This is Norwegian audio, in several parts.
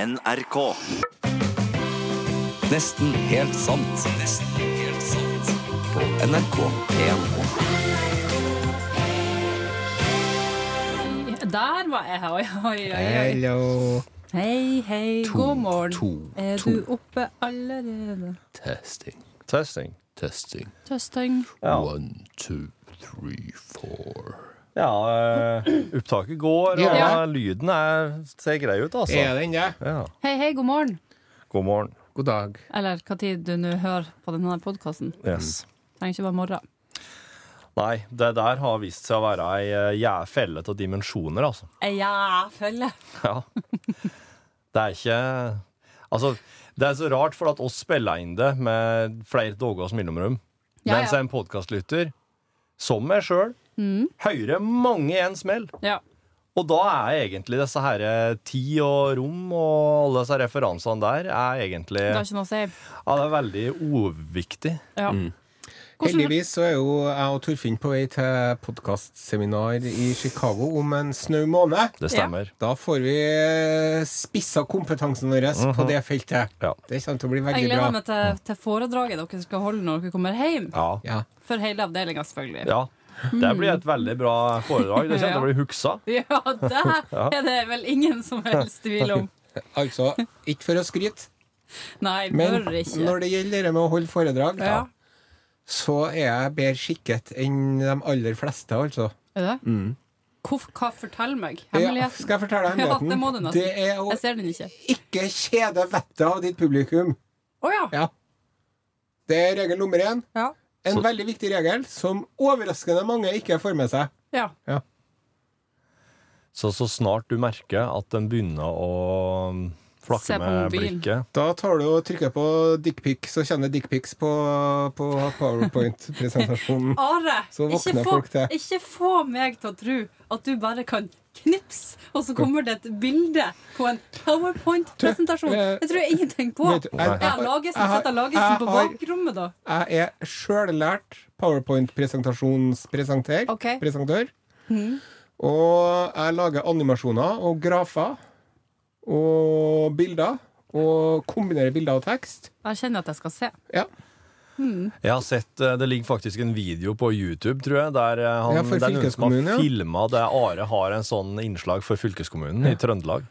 NRK. Nesten helt sant. Nesten helt sant. På NRK P1. Der var jeg. Oi, oi, oi. oi. Hello. Hei, hei. God morgen. to, er to. du oppe allerede? Testing, Testing. testing. Tøsting. Ja. One, two, three, four. Ja, eh, opptaket går, og Ja. lyden er, ser grei ut, altså. Er den det? Ja. Hei, hei, god morgen. God morgen. God dag. Eller hva tid du nå hører på denne podkasten. Yes. Trenger ikke være morgen. Nei, det der har vist seg å være ei eh, jævfelle av dimensjoner, altså. Eh, Ja, følger. Ja. Det er ikke Altså, det er så rart, for at oss spiller inn det med flere dagers mellomrom. Ja, Mens ja. Mm. en podkastlytter, som meg sjøl, hører mange i en smell. Ja. Og da er egentlig disse her eh, tid og rom og alle disse referansene der er egentlig Det har ikke noe å si. Ja, det er veldig uviktig. Ja. Hvordan, Heldigvis så er jo jeg og Torfinn på vei til podkastseminar i Chicago om en snau måned. Det stemmer. Da får vi eh, spissa kompetansen vår på det feltet. Mhm. Ja. Det kommer til å bli jeg veldig gleder bra. meg til, til foredraget dere skal holde når dere kommer hjem. Ja. ja. Ja. For hele avdelinga, selvfølgelig. Det blir et veldig bra foredrag. Det kommer til å bli huksa. Ja, det er det vel ingen som helst tvil om. Altså, ikke for å skryte, Nei, men bør ikke. når det gjelder det med å holde foredrag, ja. så er jeg bedre skikket enn de aller fleste, altså. Er det? Hvorf- hva fortell meg? Ja, Hemmeligheten? skal jeg fortelle Ja, deg hemmeligheten? det må du nesten. Det er å Jeg ser den ikke. ikke kjede vettet av ditt publikum. Å ja. Ja. Det er regel nummer én. Ja. En Så- veldig viktig regel som overraskende mange ikke får med seg. ja. Så så snart du merker at den begynner å um, Se flakke på med mobilen. blikket Da tar du og trykker på dickpic, så kjenner dickpics på, på powerpoint-presentasjonen. Are, Så ikke våkner få, folk til. ikke få meg til å tro at du bare kan knipse, og så kommer det et bilde på en PowerPoint-presentasjon. eh, Det tror jeg ingenting på. vet du, jeg- Ja, Lagesen jeg har- setter Lagesen på jeg har- bakrommet, da. Jeg er sjøllært powerpoint-presentasjonspresentør. Ok. Mhm. Presentør. Og jeg lager animasjoner og grafer og bilder. Og kombinerer bilder og tekst. Jeg kjenner at jeg skal se. Ja. Jeg har sett eh, Det ligger faktisk en video på YouTube, tror jeg, der eh, han, Ja, for det er noen som har fylkeskommunen, ja. filma der Are har en sånn innslag for fylkeskommunen i Trøndelag.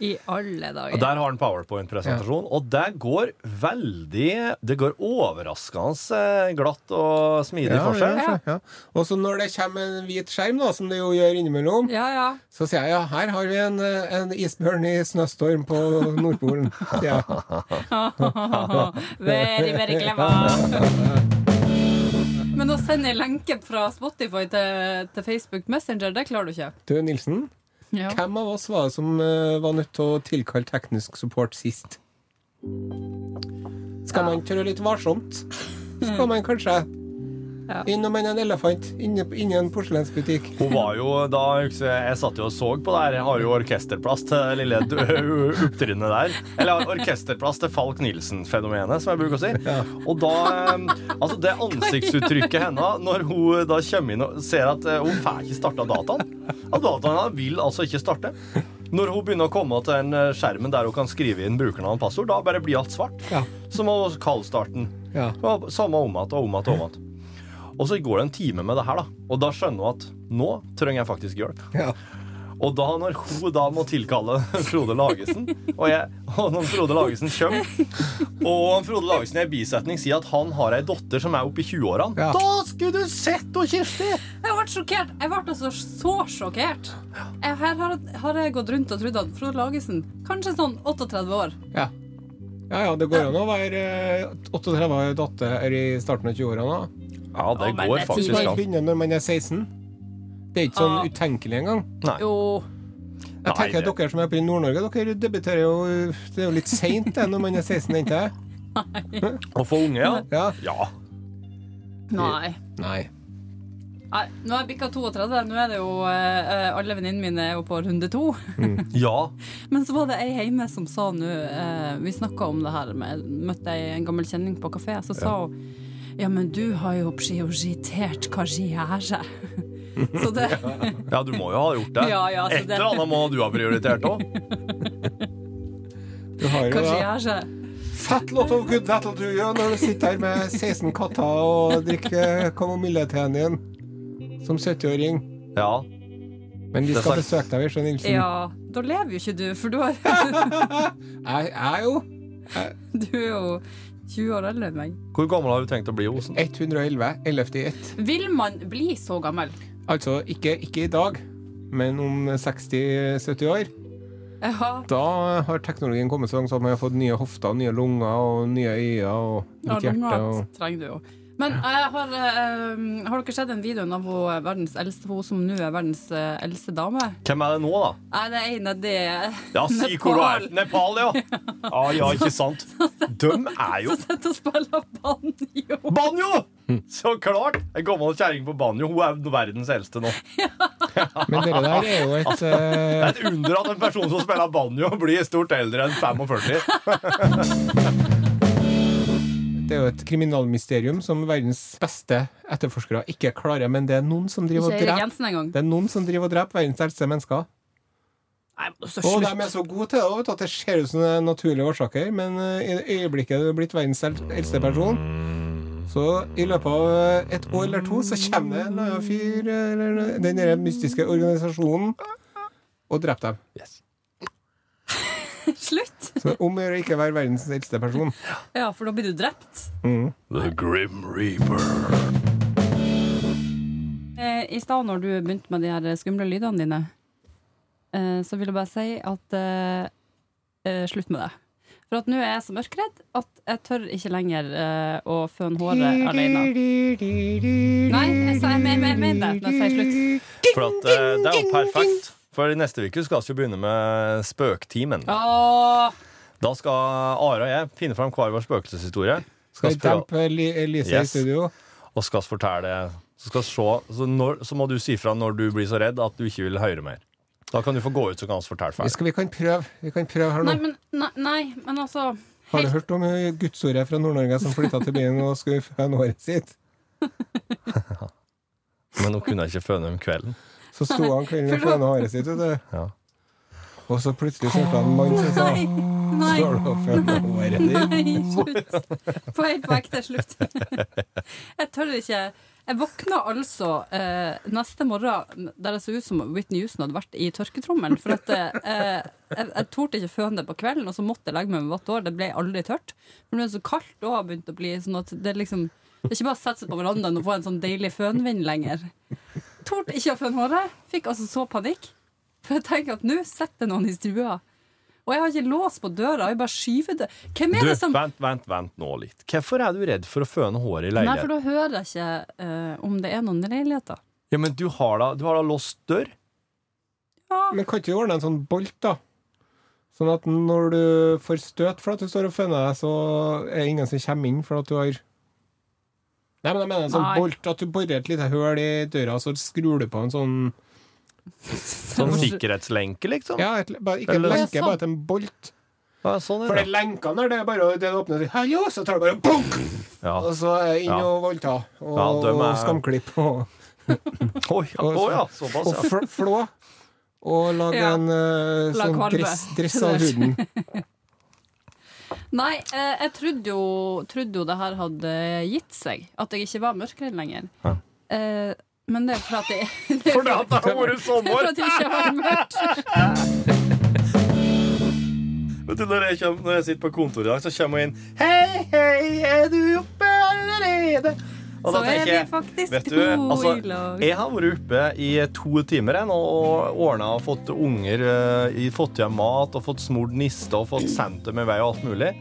I alle Og dager. Der har han powerpoint-presentasjon, og det går veldig Det går overraskende eh, glatt og smidig Ja, for seg. ja, ja. Og så når det kommer en hvit skjerm, da, som det jo gjør innimellom, Ja, ja. så sier jeg ja, her har vi en, eh, en isbjørn i snøstorm på Nordpolen. sier jeg. Very, very clever. Men å sende en lenke fra Spotify til, til Facebook Messenger, det klarer du ikke. Du, Nilsen, Ja. hvem av oss var det som eh, var nødt til å tilkalle teknisk support sist? Skal man trå litt varsomt, skal man kanskje Ja. innom en en elefant inne inni en porselensbutikk. Hun var jo da Jeg husker jeg satt jo og så på det her. Jeg har jo orkesterplass til det lille d- opptrinnet der. Eller orkesterplass til Falk Nilsen-fenomenet, som jeg bruker å si. Og da eh, Altså, det ansiktsuttrykket hennes når hun da kommer inn og ser at eh, hun får ikke starta dataen. Og dataen hennes vil altså ikke starte. Når hun begynner å komme til en eh, skjermen der hun kan skrive inn brukernavn og passord, da bare blir alt svart. Ja. Så må hun kaldstarte den. Ja. Og Samme om igjen og om igjen og om igjen. Og så går det en time med det her, da. Og da skjønner hun at nå trenger jeg faktisk hjelp. Ja. Og da når hun da må tilkalle Frode Lagesen, og, jeg, og når Frode Lagesen kommer Og Frode Lagesen i en bisetning sier at han har ei datter som er oppe i 20-årene Ja. Da skulle du sett henne, Kirsti! Jeg ble sjokkert. Jeg ble altså så sjokkert. Jeg, her har, har jeg gått rundt og trodd at Frode Lagesen kanskje sånn 38 år. Ja. Ja, ja, det går an å være eh, 38 år datter i starten av 20-åra nå. Ja, det Å, men går det er Du faktisk kan an. begynne når man er 16. Det er ikke sånn Ah. utenkelig engang. Jo. Jeg tenker at det- Dere som er oppe i Nord-Norge, dere debuterer jo Det er jo litt seint det, når man er 16, er ikke det? Å få unge, ja. Ja. Ja. Nei. Nei. Nei. Nå er jeg bikka 32. Nå er det jo eh, Alle venninnene mine er jo på runde to. ja. Men så var det ei hjemme som sa nå eh, Vi snakka om det her, med, møtte ei en gammel kjenning på kafé. Så sa hun Ja, men du har jo prioritert karriere. Så det Ja, altså du må jo ha gjort det. Ja, ja, så Et det- eller annet må du ha prioritert òg. Du har jo Kanskje da gjør seg. fat lot of good that'll do you når du sitter her med 16 katter og drikker kamomilleteen din som 70-åring. Ja. Men vi Det er sant. skal besøke deg, Vesle Nilsen. Ja, da lever jo ikke du, for du, har, Jeg jeg er jo du er jo 20 år eldre enn meg. Hvor gammel har du tenkt å bli, Osen? 111. 11. i 1. Vil man bli så gammel? Altså ikke, ikke i dag, men om 60-70 år. Ja. Da har teknologien kommet så langt at man har fått nye hofter, nye lunger og nye øyne og Ja, nytt hjerte. lunger Og... trenger du jo. Men jeg har, eh, har dere sett den videoen av hun, eh, verdens eldste, hun som nå er verdens eh, eldste dame? Hvem er det nå, da? Nei, det er en av de eh, Ja, si hvor du er. Nepal, ja. Ja, ja, ikke sant. Døm er jo som sitter og spiller banjo. Banjo! Så klart! En gammel kjerring på banjo. Hun er verdens eldste nå. Men dere der er jo et Det eh, er et under at en person som spiller banjo, blir stort eldre enn 45. Det er jo et kriminalmysterium som verdens beste etterforskere ikke klarer, men det er noen som driver og Ikke Erik dreper Jensen engang. Det er noen som driver og dreper verdens eldste mennesker. Nei, men så Og de slutt. er så gode til det vet du, at det ser ut som det er naturlige årsaker, men eh, i det øyeblikket du er blitt verdens el- eldste person, så i løpet av eh, et år eller to, så kommer det en eller annen fyr, eh, eller den der mystiske organisasjonen, og dreper dem. slutt. Så om å gjøre å ikke være verdens eldste person. Ja, for da blir du drept. The Grim Reaper. Eh, I stad når du begynte med de her skumle lydene dine, eh, så vil jeg bare si at eh, eh, slutt med det. For at nå er jeg så mørkredd at jeg tør ikke lenger eh, å føne håret alene. Nei, jeg sa jeg men- men- men det når jeg sier slutt. For at, eh, det er jo perfekt. For i neste uke skal vi jo begynne med Spøktimen. Åh, Da skal Are og jeg finne fram hver vår spøkelseshistorie. Skal Skal vi vi prøve- dempe Li- Elise Yes. i studio? og skal vi fortelle så, skal vi se, så, når, så må du si fra når du blir så redd at du ikke vil høre mer. Da kan du få gå ut, så kan vi fortelle Vi, ferdig. skal, vi kan prøve. Vi kan prøve her nå. nei, men, nei, nei, men altså Har du helt- hørt om eh, gudsordet fra Nord-Norge som flytta til byen og skulle føne håret sitt? Men nå kunne jeg ikke føne om kvelden. Så sto han kvelden og føna håret sitt, vet du. Ja. Og så plutselig så hørte han en mann som sa Nei, nei, Står du og føner håret ditt? nei, slutt. På helt på ekte, slutt. Jeg tør ikke. Jeg våkna altså eh, neste morgen der det så ut som Whitney Houston hadde vært i tørketrommelen. For at eh, jeg, jeg torde ikke føne det på kvelden, og så måtte jeg legge meg med vått hår. Det ble aldri tørt. Men det er så kaldt og har begynt å bli sånn at det liksom Det er ikke bare å sette seg på verandaen og få en sånn deilig fønvind lenger. Torde ikke å føne håret. Fikk altså så panikk. For jeg tenker at nå sitter det noen i stua. Og jeg har ikke lås på døra, jeg bare skyver det. Hvem Du, er liksom- det som vent, vent, vent nå litt. Hvorfor er du redd for å føne håret i Nei, for leiligheten? da hører jeg ikke eh, om det er noen i leiligheten. Ja, men du har da, du har da låst dør? Men kan ikke du ordne en sånn bolt, da? Sånn at når du får støt for at du står og føner deg, så er det ingen som kommer inn for at du har Nei, men jeg mener en sånn Nei. bolt, at du borer et lite høl i døra, og så skrur du på en sånn Sånn sikkerhetslenke, liksom? Ja, et, bare, ikke en Eller- lenke, Ja, sånn. bare til en bolt. Ja, sånn For er den det. lenka der, det er bare å det du åpner og sier 'hallo', så tar du bare bunk! Ja. Og så er det inn Ja. og voldta. Og, Ja, dem er- og skamklipp. Og, Oi, ja, Og- sånn. å ja, såpass, og ja. fl flå. Og lage Ja. en eh, Lag sånn kvalme. dress, dress av huden. Nei, eh, jeg trodde jo, trodde jo det her hadde gitt seg. At jeg ikke var mørkredd lenger. Ja. Eh, men det er for at jeg, det er For det at det har vært sommer! for at jeg ikke har mørkt. Vet du, når, jeg kjem, når jeg sitter på kontoret i dag, så kommer jeg inn Hei, hei, er du oppe allerede? Og da Så er tenker vi jeg, faktisk Vet du, to altså, i lag. jeg har vært oppe i to timer jeg, nå, og ordna og fått unger eh, i- Fått hjem mat og fått smurt niste og fått sendt dem i vei og alt mulig.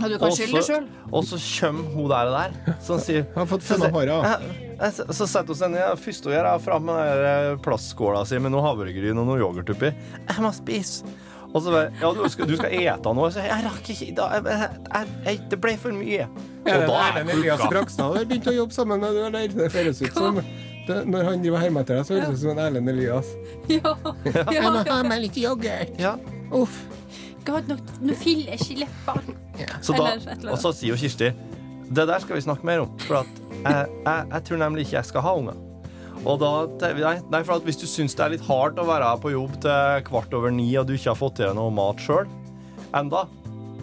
Ja, du Og kan skylde deg så, sjøl. og så kommer hun der og der, som sier Jeg har fått fønna håret av. Eh, Så så setter vi oss ned. Det første hun gjør, er fram med den der, eh, plastskåla si med noe havregryn og noe yoghurt oppi. Jeg må spise. Og så bare Ja, du skal, du skal ete noe. Så jeg, jeg rakk ikke i dag. Jeg- jeg- jeg- jeg- Det ble for mye. Er Og det da er Erlend Elias klokka Brakstad har begynt å jobbe sammen med du, eller? Det høres ut som det, Når han driver og hermer etter deg, så høres det ut som en Erlend Elias. Ja. Jeg må ja. ha meg litt yoghurt. ja. Uff. Skal ha noe, noe fillers i leppene. Så da, Eller et eller annet. og så sier jo Kirsti Det der skal vi snakke mer om, for at jeg, jeg, jeg tror nemlig ikke jeg skal ha unger. Og da, te- nei, nei, for at hvis du syns det er litt hardt å være på jobb til kvart over ni, og du ikke har fått til deg noe mat sjøl enda,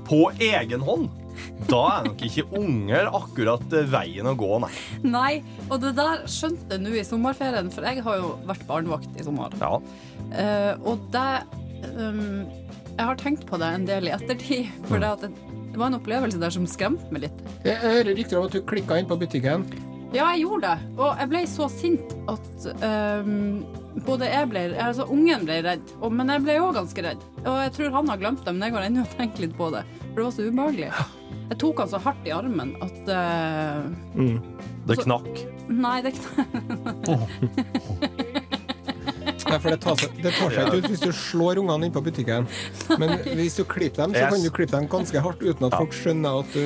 på egen hånd, da er nok ikke unger akkurat eh, veien å gå, nei. Nei, og det der skjønte jeg nå i sommerferien, for jeg har jo vært barnevakt i sommer. Ja. Eh, og det um, Jeg har tenkt på det en del i ettertid, for det, at det, det var en opplevelse der som skremte meg litt. Jeg hører rykter om at du klikka inn på butikken. Ja, jeg gjorde det, og jeg ble så sint at um, både jeg ble Altså, ungen ble redd, og, men jeg ble òg ganske redd. Og jeg tror han har glemt det, men jeg går ennå og tenker litt på det, for det var så ubehagelig. Jeg tok han så hardt i armen at eh, Det knakk. Nei, det er ikke Nei, for det tar seg, det tar seg ikke ut hvis du slår ungene inn på butikken. Men hvis du klipper dem, så Yes. kan du klippe dem ganske hardt uten at folk skjønner at du,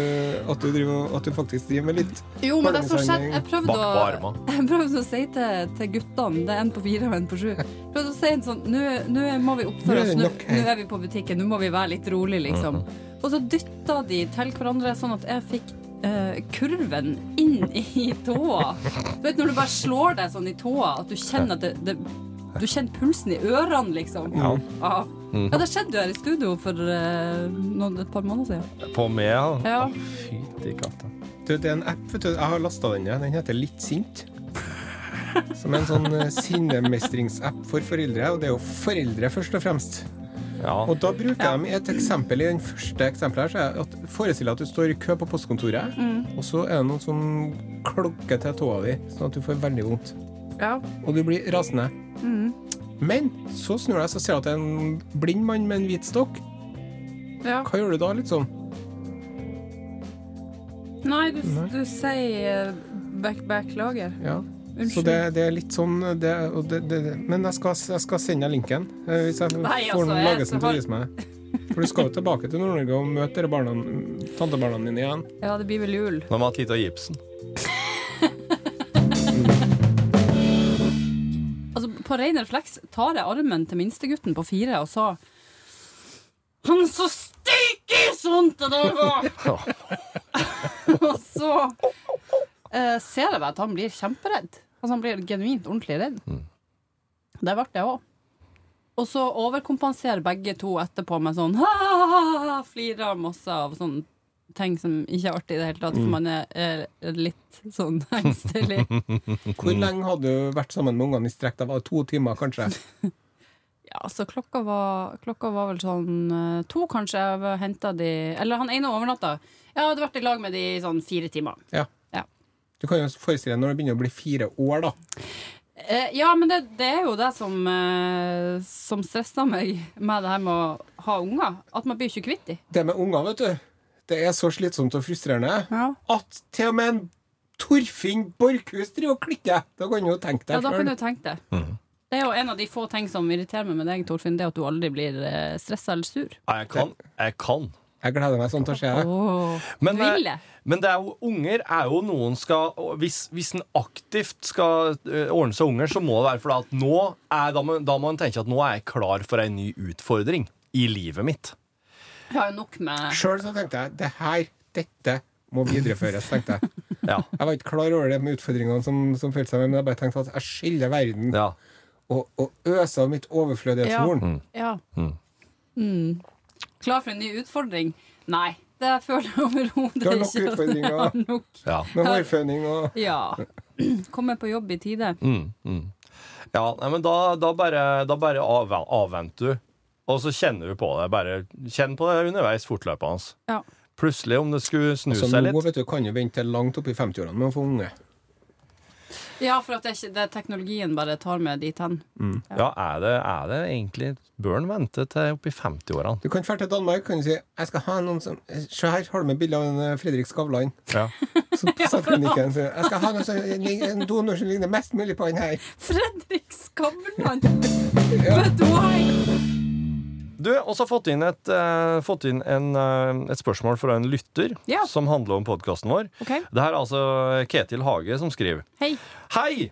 at du, driver, at du faktisk driver med litt Jo, men det som skjedde Jeg prøvde Bak på å, armene. jeg prøvde å si til, til guttene Det er en på fire og en på sju Jeg prøvde å si en sånn Nå nå må vi Nå er oppføre oss, det nå, nok her.» Mm-hmm. nå er vi på butikken Nå må vi være litt rolig liksom Og så dytta de til hverandre Sånn at jeg fikk eh, kurven inn i tåa Du vet når du bare slår deg sånn i tåa At du kjenner at det, det du kjenner pulsen i ørene, liksom. Ja, Mm-hmm. ja det skjedde jo her i studio for eh, noen, et par måneder siden. På meg, ja. Ja. Fytti katta. Du, det er en app, vet du. Jeg har lasta den ned. Den heter Litt sint. Som en sånn eh, sinnemestringsapp for foreldre, og det er jo foreldre først og fremst. Ja. Og da bruker de et eksempel i den første eksempelet her, så er at forestill deg at du står i kø på postkontoret, og så er det noen som klokker til tåa di, sånn at du får veldig vondt. Ja. Og du blir rasende. Mm. Men så snur jeg, så ser jeg at det er en blind mann med en hvit stokk. Ja. Hva gjør du da, liksom? Nei, du, du sier back-back-lager. Ja. Unnskyld. Så det, det er litt sånn det, og det, det, det- Men jeg skal, jeg skal sende deg linken. eh, Hvis jeg Nei, får altså, noen jeg- Lagesen til å vise meg. For du skal jo tilbake til Nord-Norge og møte dere barna, tantebarna dine igjen. Ja, det blir vel jul. Når man har tid til gipsen. Altså, på ren refleks tar jeg armen til minstegutten på fire og sa Han er så steike sunt det der var! og så eh, ser jeg bare at han blir kjemperedd. Altså, han blir genuint ordentlig redd. Det ble jeg òg. Og så overkompenserer begge to etterpå med sånn «Ha-ha-ha», Flirer masse av sånne ting som ikke er artig i det hele tatt, for man er, er litt sånn engstelig. Hvor lenge hadde du vært sammen med ungene i strekk? Det var to timer, kanskje? Ja, altså klokka var, klokka var vel sånn eh, to, kanskje. Jeg henta de Eller han ene overnatta. Jeg hadde vært i lag med de i sånn fire timer. Ja. Ja, Du kan jo forestille deg når det begynner å bli fire år, da. eh, ja men det, det er jo det som, eh, som stressa meg med det her med å ha unger. At man blir ikke kvitt dem. Det med unger, vet du. Det er så slitsomt og frustrerende Ja. at til og med en Torfinn Borchhus driver og klikker! Da kan du jo tenke Ja, deg da kan du selv. tenke det. Mhm. Det er jo en av de få ting som irriterer meg med deg, Torfinn, det er at du aldri blir stressa eller sur. Nei, Jeg kan. Jeg kan. Jeg gleder meg sånn til å se deg. Åh, Men, eh, Ville. men det er jo, unger er jo noen skal og Hvis, hvis en aktivt skal eh, ordne seg unger, så må det være fordi at nå er, da, må, da må en tenke at nå er jeg klar for ei ny utfordring i livet mitt. Jeg har jo nok med Sjøl så tenkte jeg det her, dette må videreføres, tenkte jeg. Ja. Jeg var ikke klar over det med utfordringene som, som følte seg med, men jeg bare tenkte at jeg skylder verden ja. og, og øser av mitt overflødighetshorn. Ja. Mm. Klar for en ny utfordring? Nei, det føler jeg overhodet ikke. Du har nok at jeg utfordringer. har nok. ja. Med hårføning og Ja. Komme på jobb i tide. Mm, mm. Ja, nei, men da, da bare, da bare av, avventer du, og så kjenner du på det. Bare kjenn på det underveis fortløpende. hans. Ja. Plutselig, om det skulle snu Så seg Altså, nå litt vet du, kan du vente til langt opp i 50-årene med å få unge. ja, for at det, er ikke- det er teknologien bare tar meg dit hen. Ja, er det, er det egentlig Bør en vente til oppi 50-årene? Du kan dra til Danmark kan du si jeg skal ha noen som Se her har du med bilde av en eh, Fredrik Skavlan. Ja. Som på sakkklinikken sier jeg skal ha noen som, en donor som ligner mest mulig på han her. Fredrik Skavlan! Vet du hva? Du, også fått inn, et, eh, fått inn en, eh, et spørsmål fra en lytter Ja. som handler om podkasten vår. Ok. Det her er altså Ketil Hage som skriver. Hei. Hei!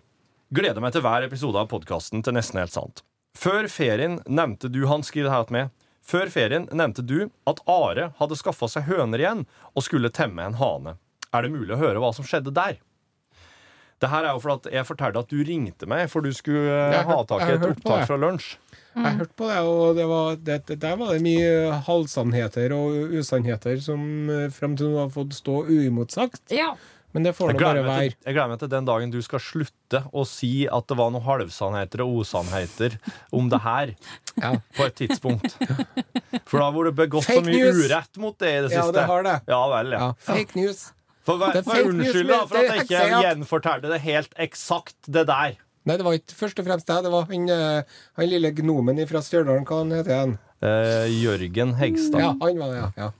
Gleder meg til hver episode av podkasten til Nesten helt sant. Før ferien nevnte du han skriver her til meg. Før ferien nevnte du at Are hadde skaffa seg høner igjen og skulle temme en hane. Er det mulig å høre hva som skjedde der? Det her er jo for at jeg fortalte at du ringte meg, for du skulle eh, Jeg har ha hørt- tak jeg i har et hørt på opptak det. fra lunsj. Jeg hørte på det, og det var, det, det, der var det mye halvsannheter og usannheter som eh, frem til nå har fått stå uimotsagt. Ja. Men det får Jeg nå bare gleder, meg være. til, jeg gleder meg til den dagen du skal slutte å si at det var noen halvsannheter og osannheter om det her. Ja. På et tidspunkt. For da har det begått så Fake mye news! urett mot det i det Ja, siste. det har det. Ja vel, ja. Ja. Fake news. For vær, Det er vær fake news, unnskyld da, for at men jeg det er ikke ikke- gjenfortalte det helt eksakt, det der. Nei, det var ikke først og fremst det. Det var han, eh, han lille gnomen fra Stjørdal, hva han heter han? Eh, Jørgen Hegstad. Ja, han var det, ja. ja.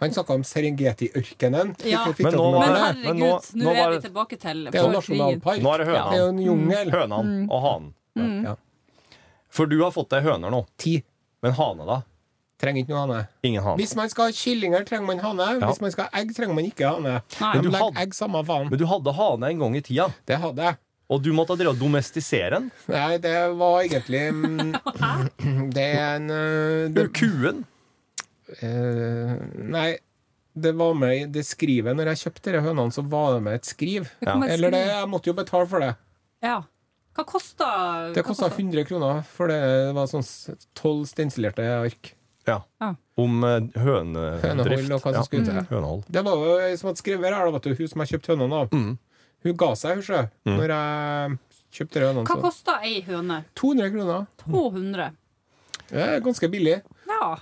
Han snakka om Serengeti-ørkenen. Ja. Fikk- fikk Men dere nå med var Men det- det? men herregud, nå- nå, nå var er vi det- tilbake til Det er jo før krigen. nasjonalpark. Nå er det høna. Det er jo en jungel. Hønene og hanen. Ja. For du har fått deg høner nå. Ti. Men hane, da? Trenger ikke noe hane. Ingen hane. Hvis man skal ha kyllinger, trenger man hane. Ja. Hvis man skal ha egg, trenger man ikke hane. Nei. De Men du legger hadde- egg samme faen. Men du hadde hane en gang i tida, Det hadde jeg. og du måtte drive og domestisere den. Nei, det var egentlig mm, Det er en øh, det, Kuen. øh, Nei, det var med i det skrivet Når jeg kjøpte de hønene, så var det med et skriv. Det kommer et Eller det, skrin. jeg måtte jo betale for det. Ja. Hva kosta Det kosta 100 kroner, for det var sånn tolv stensilerte ark. Ja. Ja. Om eh, Hønehold hønedrift. og hva som skulle til. Hønehold. Det var jo ei som hadde skrevet her, da, vet du, hun som jeg kjøpte hønene av. Mm. Hun ga seg, hun, sjø. Når jeg kjøpte de Hva hønene. Så. kosta ei høne? 200 kroner. 200. Det er ganske billig. Ja.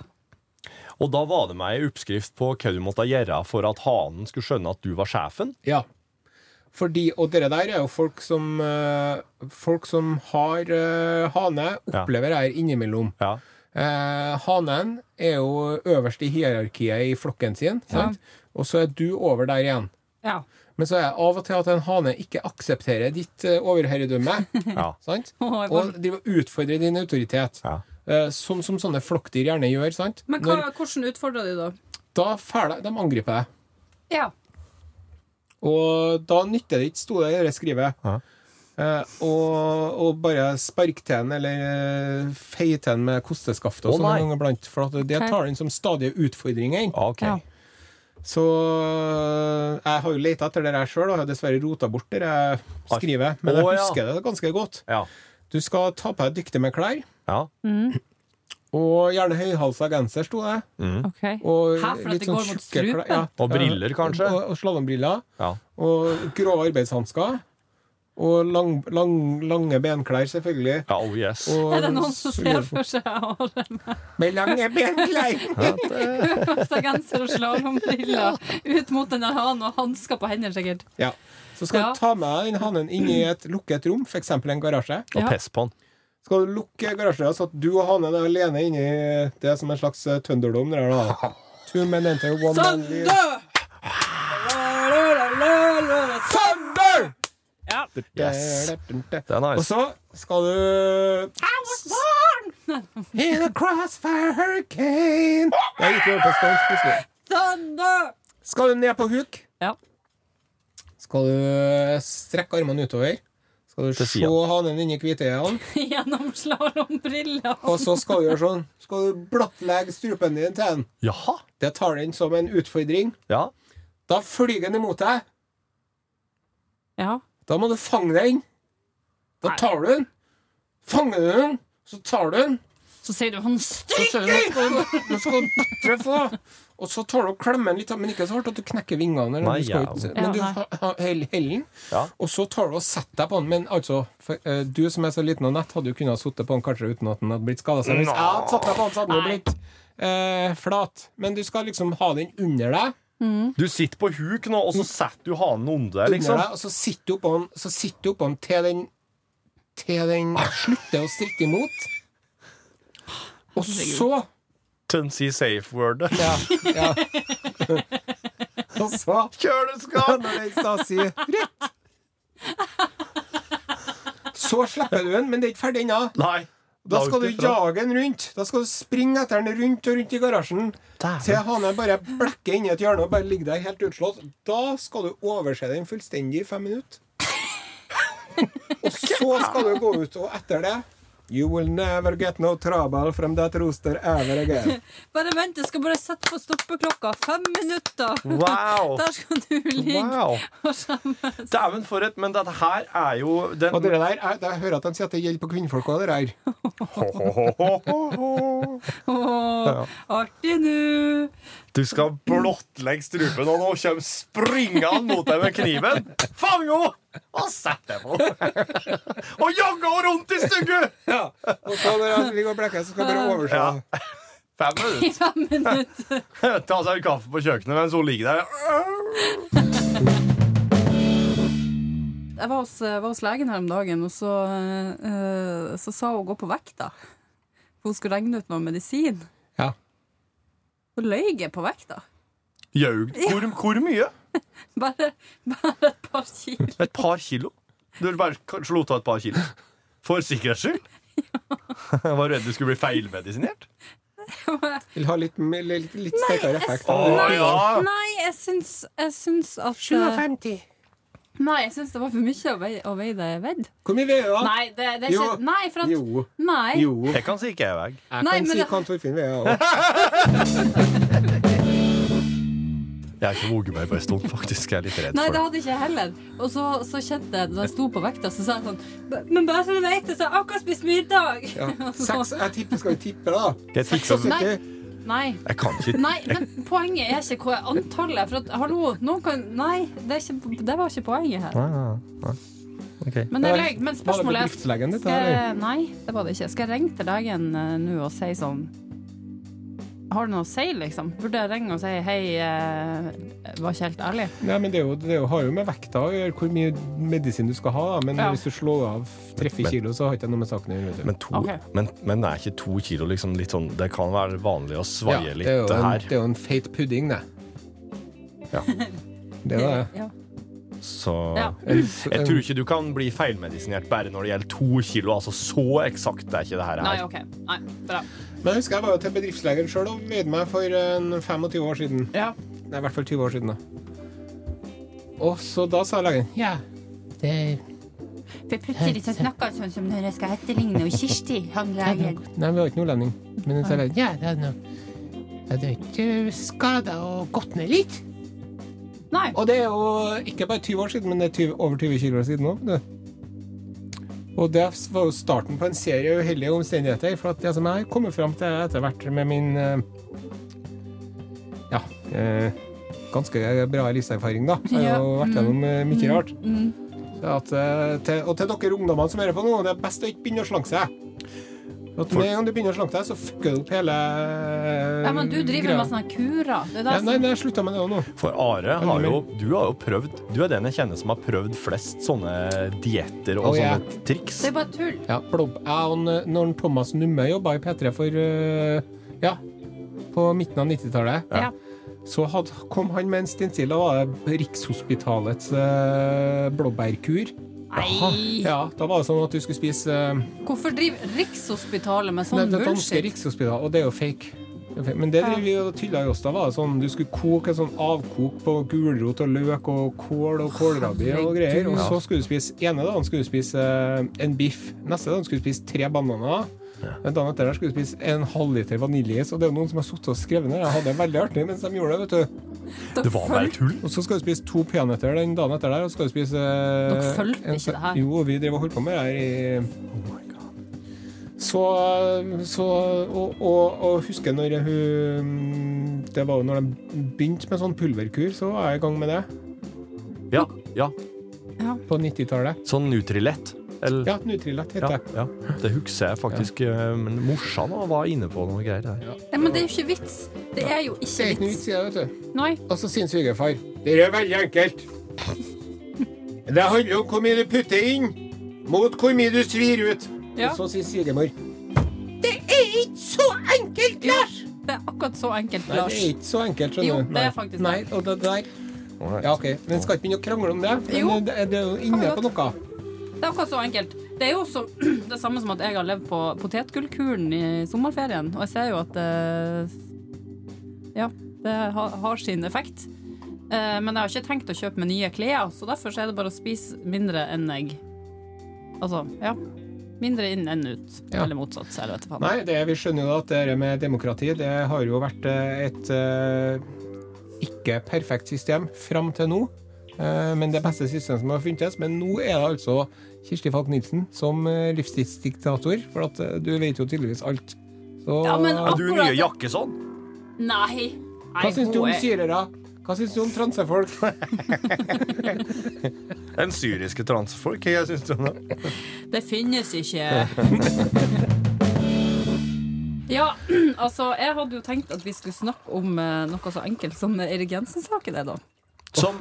Og da var det meg ei oppskrift på hva du måtte gjøre for at hanen skulle skjønne at du var sjefen. Ja. Fordi, og dere der er jo folk som eh, Folk som har eh, hane, opplever det her innimellom. Ja. Eh, hanen er jo øverst i hierarkiet i flokken sin, sant? og så er du over der igjen. ja. Men så er det av og til at en hane ikke aksepterer ditt eh, overherredømme. Ja. sant? Å, jeg var- Og driver og utfordrer din autoritet. Ja. Eh, sånn som sånne flokkdyr gjerne gjør. sant? Men hva, hvordan utfordra de, da? da fær de, de angriper deg. Ja. Og da nytter det ikke, sto det i det skrivet. Ja. Eh, og, og bare spark til den, eller eh, fei til den med kosteskaftet. Å, og sånn nei. en gang iblant, for at det Ok. tar den som stadige utfordringer. Ah, Ok. Ja. Så eh, jeg har jo leita etter det her sjøl, og har dessverre rota bort det jeg skriver. Men Å, jeg ja. husker det ganske godt. Ja. Du skal ta på deg dyktig med klær, ja. og gjerne høyhalsa genser, sto det. OK. Mm. Og Hæ, for at litt det går sånn mot tjukke klær- strupen? ja. Og briller, kanskje? Og, og slalåmbriller. Ja. Og grå arbeidshansker. Og lang, lang, lange benklær, selvfølgelig. ja. Oh yes. Og Er det noen som ser for seg å ha den Med lange benklær! med genser og slalåmbriller ut mot den der hanen og hansker på hendene, sikkert? ja. Så skal Ja. du ta med den hannen inn i et lukket rom, f.eks. en garasje. Og Ja. piss på den. Skal du lukke garasjedøra, så at du og hannen er alene inni det er som en slags eh, tønderdom. Det der, da. Two men enter one man leaves. Thunder! Yes. Det Og er nice. så skal du In a crossfire hurricane Jeg gikk jo over til Stones plutselig. Sånn, Skal du ned på huk? Ja. Skal du eh, strekke armene utover? Skal du Til se siden. hanen inni hvitøyene? Gjennom slalåmbriller. Og så skal du gjøre sånn. Skal du blottlegge strupen din til den? Jaha. Det tar den som en utfordring. Ja. Da flyr den imot deg. Ja. Da må du fange den. Da tar du den. Fanger du den, så tar du den. Så sier du han Så stryk! ser du at du- du skal batre på. Og så tar du og klemmer den litt, men ikke så hardt at du knekker vingene. Eller Nei, du skal, jævlig. ut- men du Ja, nei. ha- ha- hell- heller den, Ja. og så tar du og setter deg på den. Men altså, for, eh, du som er så liten og nett, hadde jo kunnet sitte på den kanskje uten at den hadde blitt skada. Hvis jeg hadde satt meg på den, så hadde den jo Nei. blitt eh, flat. Men du skal liksom ha den under deg. Du sitter på huk nå, og så setter du hanen under deg, under liksom. deg, og så sitter du på den, så sitter du på den til den til den slutter å stritte imot. Og så Den sier safe-wordet. ja, ja. Og så Kjøleskap! når den da sier rett, så slipper du den, men det er ikke ferdig ennå. Nei. Da skal du Langt ifra. jage den rundt. Da skal du springe etter den rundt og rundt i garasjen. Dæven. Til hanen bare blekker inni et hjørne og bare ligger der helt utslått. Da skal du overse den fullstendig i fem minutter. Og så skal du gå ut, og etter det You will never get no trouble from that rooster ever again. Bare vent, jeg skal bare sette på stoppeklokka. Fem minutter! Wow! Der skal du ligge wow. og skjemmes. Dæven for et Men dette her er jo den Og det der, jeg, jeg hører at de sier at det gjelder på kvinnfolk òg, det der. Åh, Artig nå! Du skal blottlegge strupen, og nå kommer springende mot deg med kniven. Fang henne! Og sett deg på Og jogge henne rundt i stygget! Og så når han ligger og blekker, så skal jeg bare overse. Ja. Fem minutter. I fem minutter. Ta seg en kaffe på kjøkkenet mens hun ligger der. Jeg var hos, var hos legen her om dagen, og så, eh, så sa hun gå på vekta. For hun skulle regne ut noe medisin. Ja. Så løy jeg på vekta. Jaug. Hvor, hvor mye? Bare, bare et par kilo. Et par kilo? Du bare slo av et par kilo? For sikkerhets skyld? Jeg var redd du skulle bli feilmedisinert. Vil ha litt, litt, litt, litt sterkere effekt. Å ja! Nei, jeg syns, jeg syns at eh, 57. Nei, jeg syns det var for mye å veie, å veie det vedd. Hvor mye veier du? Nei, det, det er Jo. ikke Nei, for at Jo. Nei. Jo. Det kan si ikke jeg vei. Jeg Nei, kan men si det- hva Torfinn veier òg. Jeg har ikke våget meg på en stund, faktisk. Jeg er litt redd Nei, for det det. hadde ikke jeg heller. Og så, så kjente jeg, da jeg sto på vekta, så sa jeg sånn "B- Men bare så du vet det, så har jeg akkurat spist middag! Ja. Og så- Seks, jeg tipper, skal vi tippe, da? Jeg, tipper- Nei. Nei. 70. jeg kan ikke sånn. Nei, men poenget er ikke hva antallet er. For at, hallo, noen kan Nei, det, er ikke, det var ikke poenget her. Men, jeg løy, men spørsmålet Var det er bedriftslegen ditt, skal eller? jeg, Nei, det var det ikke. Skal jeg ringe til legen eh, nå og si sånn Har du noe å si, liksom? Burde jeg ringe og si hei, eh, var ikke helt ærlig? Nei, men det, er jo, det er jo, har jo med vekta å gjøre hvor mye medisin du skal ha. da. Men Ja. hvis du slår av 3-4 kilo, så har ikke det noe med saken å gjøre. vet du. Men, to, Ok. men, men er ikke to kilo liksom litt sånn Det kan være vanlig å Ja, svaie litt det, er jo det en, her. det er jo en feit pudding, det. Ja. Det er det. Ja. Så Ja. jeg tror ikke du kan bli feilmedisinert bare når det gjelder to kilo. Altså så eksakt er ikke det her. Nei, her. OK. Nei, bra. Men jeg husker jeg var jo til bedriftslegen sjøl og veide meg for en 25 år siden. Ja. Nei, i hvert fall 20 år siden, da. Og så da sa legen Ja, det For plutselig så snakker han sånn som når jeg skal etterligne og Kirsti, han legen. Nei, vi har ikke noe lending. Men så er det Ja, det er noe Ja, det er ikke skada og gått ned litt. Nei. Og det er jo ikke bare 20 år siden, men det er 20, over 20 kilo siden òg. Og det var jo starten på en serie uheldige omstendigheter. For at det som jeg har kommet fram til etter hvert med min eh, ja, eh, ganske bra livserfaring, da. Jeg har jo Ja, vært gjennom eh, mye rart. Mm. Så at, eh, til, og til dere ungdommene som hører på nå, det er best å ikke begynne å slanke seg. At For- Med en gang du begynner å slanke deg, så fucker du opp hele eh, Ja, men du driver greia. med sånne kurer. Det er ja, det Nei, som nei, jeg slutta med det òg nå. For Are Veldig har jo Du har jo prøvd Du er den jeg kjenner som har prøvd flest sånne dietter og Å, ja. sånne triks. Det er bare tull. Ja, plopp. Jeg og n- når Thomas Numme jobba i P3 for øh, Ja, på midten av 90-tallet, Ja. så had, kom han med en stensil. Da var det Rikshospitalets øh, blåbærkur. Nei! Ja, da var det sånn at du skulle spise øh, Hvorfor driver Rikshospitalet med Nei, sånn det danske bullshit? Rikshospitalet, og det er jo fake. Det er fake. Men det driver vi og tyller i oss. Da var det sånn du skulle koke en sånn avkok på gulrot og løk og kål og kålrabi og greier. Og så skulle du spise ene dagen skulle du spise eh, en biff. Neste dagen skulle du spise tre bananer. Den dagen etter der skulle du spise en halvliter vaniljeis. Og det er jo noen som har sittet og skrevet ned. Jeg hadde det veldig artig mens de gjorde det, vet du. Det var bare tull. Og så skal du spise to peanøtter den dagen etter der, og så skal du spise eh, Dere fulgte en- ikke det her? Jo, vi drev og holdt på med det her i Oh så, så og, og, og husker når hun Det var jo når de begynte med sånn pulverkur, så var jeg i gang med det Ja, ja. på 90-tallet. Sånn Nutrilett. Eller Ja, Nutrilett het ja, det. ja. Det husker jeg faktisk. eh, Men morsan var inne på noe greier der. Nei, men det er jo ikke vits. Det er jo Det ikke er ikke vits. noe vits i det, vet du. Nei. Og så sier svigerfar Det er veldig enkelt. Det handler om hvor mye du putter inn, mot hvor mye du svir ut. Ja. Og så sier svigermor Det er ikke så enkelt, Lars! Det er akkurat så enkelt, Nei, det Lars. er ikke så enkelt, skjønner Jo, du. det er faktisk det. Nei, og det der Ja, OK. Men skal ikke begynne å krangle om det. Men Jo. det, det er jo inne Kan vi på noe. Det er akkurat så enkelt. Det er jo så, det samme som at jeg har levd på potetgullkuren i sommerferien, og jeg ser jo at eh, Ja, det har, har sin effekt. Eh, men jeg har ikke tenkt å kjøpe meg nye klær, så derfor så er det bare å spise mindre enn jeg Altså, ja. Mindre inn enn ut. Ja. Eller motsatt. så Jeg vet ikke faen. Nei, det, vi skjønner jo da at det her med demokrati det har jo vært eh, et eh, ikke perfekt system fram til nå. Eh, men det beste systemet som har funnes. Men nå er det altså Kirsti Falk Nilsen som eh, livstidsdiktator. For at eh, du vet jo tydeligvis alt. Så Ja, men Er du nye akkurat- Jakkesson? Nei! Nei, E. hva syns du hun om er- syrere? Hva syns du om transefolk? Den syriske transfolk? Jeg synes det er. Det finnes ikke. Ja, altså, jeg hadde jo tenkt at vi skulle snakke om eh, noe så enkelt som Eirik Jensen-saken. er da. Som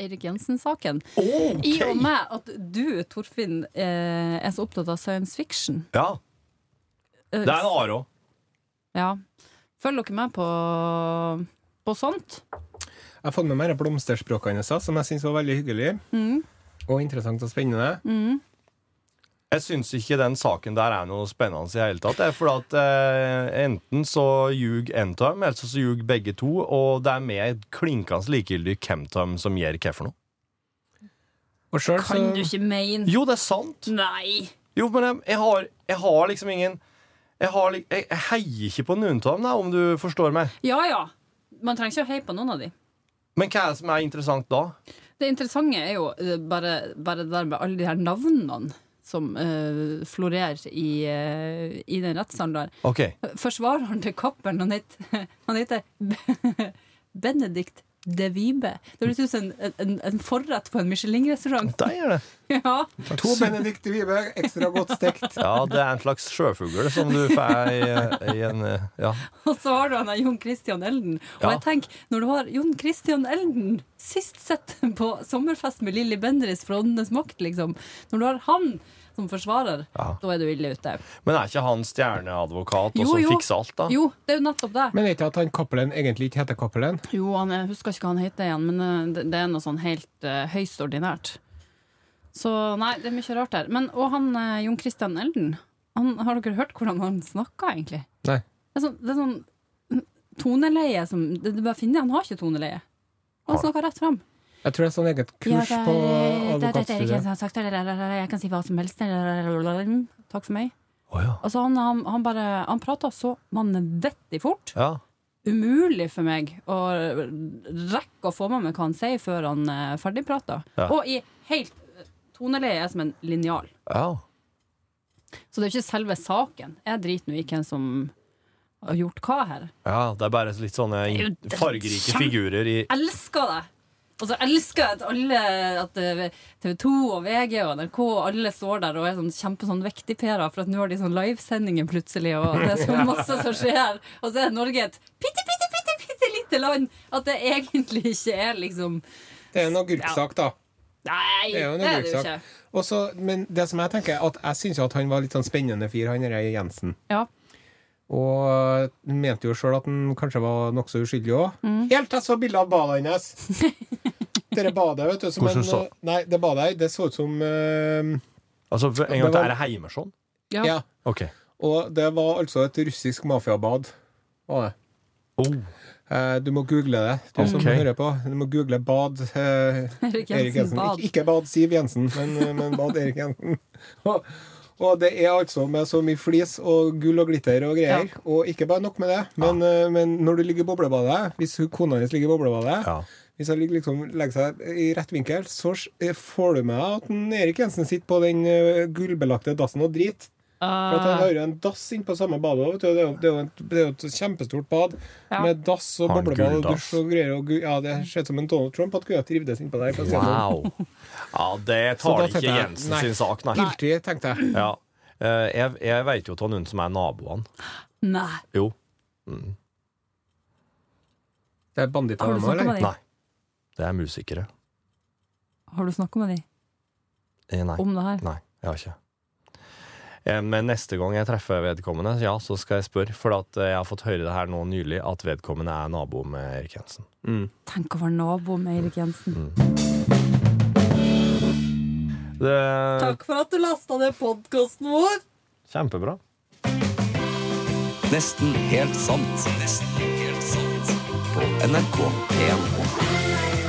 Eirik Jensen-saken. OK! I og med at du, Torfinn, eh, er så opptatt av science fiction. Ja, eh, det er en Aro. ja. Følger dere med på, på sånt? Jeg har fått med meg det blomsterspråket hennes, da, som jeg syns var veldig hyggelig. Mm. Og interessant og spennende. Jeg syns ikke den saken der er noe spennende i det hele tatt. Det er fordi at eh, Enten så ljug en av dem, eller så ljug begge to. Og det er med klinkende likegyldig hvem av dem som gjør hva for noe. Og sjøl så Kan du ikke mene Altså- Jo, det er sant! Nei! Jo, men jeg, jeg, har, jeg har liksom ingen jeg, har, li- jeg, jeg heier ikke på noen av dem, da, om du forstår meg. Ja ja. Man trenger ikke å heie på noen av de. Men hva er det som er interessant da? Det interessante er jo eh, bare, bare det der med alle de her navnene som eh, florerer i, eh, i den rettssalen der. Ok, Forsvareren til Cappelen, han, het- han heter Be- Benedikt de Vibe. Det høres ut som en, en, en forrett på en Michelin-restaurant. der er det. Ja. To Benedicte Vibe, ekstra godt stekt. Ja, det er en slags sjøfugl som du får i, i en eh, Ja. Og så har du han der Jon Christian Elden. Og Ja. jeg tenker, når du har Jon Christian Elden sist sett på sommerfest med Lilly Bendriss fra Åndenes makt, liksom, når du har han som forsvarer, Ja. da er du ille ute. Men er ikke han stjerneadvokat og Jo, som jo. fikser alt, da? Jo, det er jo nettopp det. Men er ikke at han Cappelen egentlig ikke heter Cappelen? Jo, han, jeg husker ikke hva han heter igjen, men eh, det, det er noe sånn helt eh, høyst ordinært. Så nei, det er mye rart der. Men, og han eh, Jon Christian Elden, han, har dere hørt hvordan han snakker, egentlig? Nei. Det er sånn, det er sånn toneleie som det, det bare finner, Han har ikke toneleie. Han snakker rett fram. Jeg tror det er sånn eget kurs på advokatstudiet. Jeg kan si hva som helst. Takk for meg. Å, ja. Altså, han, han, han bare Han prater så vanvittig fort. Ja. umulig for meg å rekke å få med meg hva han sier før han eh, ferdigprater. Ja. Og i helt toneleie er som en linjal. ja. Så det er jo ikke selve saken. Jeg driter nå i hvem som har gjort hva her. Ja, det er bare litt sånne in- Det er jo fargerike kjempe- figurer i Elsker det! Og så elsker jeg at alle At eh, TV 2 og VG og NRK alle står der og er sånn kjempe sånn vektigperer, for at nå har de sånn livesendinger plutselig, og det er så masse som skjer. Og så er Norge et bitte, bitte, bitte, bitte lite land! At det egentlig ikke er liksom Det er en agurksak, da. Nei, Det er jo en agurksak. Og så- Men det som jeg tenker, er at jeg syns jo at han var litt sånn spennende fyr, han derre Jensen. Ja. Og eh, mente jo sjøl at han kanskje var nokså uskyldig òg. Helt til jeg så bilde av badet hennes! Dere badet, vet du. Som Hvordan en, eh, så- Nei, det badet her, det så ut som eh, Altså, en gang til Det var- er det Heimersson? Ja. Ja. Ok. Og det var altså et russisk mafiabad. Var det. Oh. Eh, Du må google det, du som Ok. hører på. Du må google bad eh, Erik Jensen, Erik Jensen. bad. Ik ikke bad Siv Jensen, men, eh, men bad Erik Jensen. Og, og det er altså med så mye flis og gull og glitter og greier. Og ikke bare nok med det, men, eh, men når du ligger i boblebadet, hvis hun- kona hennes ligger i boblebadet Ja. Hvis han ligger liksom, legger seg i rett vinkel, så s- eh, får du med at en Erik Jensen sitter på den eh, gullbelagte dassen og driter. For at han har jo en dass inne på samme badet også, vet du. Det er jo- Det er jo et- det er jo et kjempestort bad Ja. med dass og Har han boblebad og gulldass? dusj og greier. Og, gu- ja, det ser ut som en Donald Trump at gutter trivdes innpå der. for å si det sånn. Wow. Ja, det Så da tar ikke tenkte jeg, Jensen nei. sin sak, nei. sånn. Guilty, tenkte jeg. Ja. Eh, Jeg, jeg veit jo av noen som er naboene. Nei. Jo. Mm. Det er banditter Har du nå, snakket med eller? dem? Nei. Det er musikere. Har du snakket med dem Eh, Nei. om det her? Nei, jeg har ikke. Eh, Men neste gang jeg treffer vedkommende, ja, så skal jeg spørre. For at eh, jeg har fått høre det her nå nylig, at vedkommende er nabo med Erik Jensen. Tenk å være nabo med Eirik Jensen. Mm. Det Takk for at du lasta ned podkasten vår! Kjempebra. Nesten helt sant. Nesten helt sant. På NRK P1.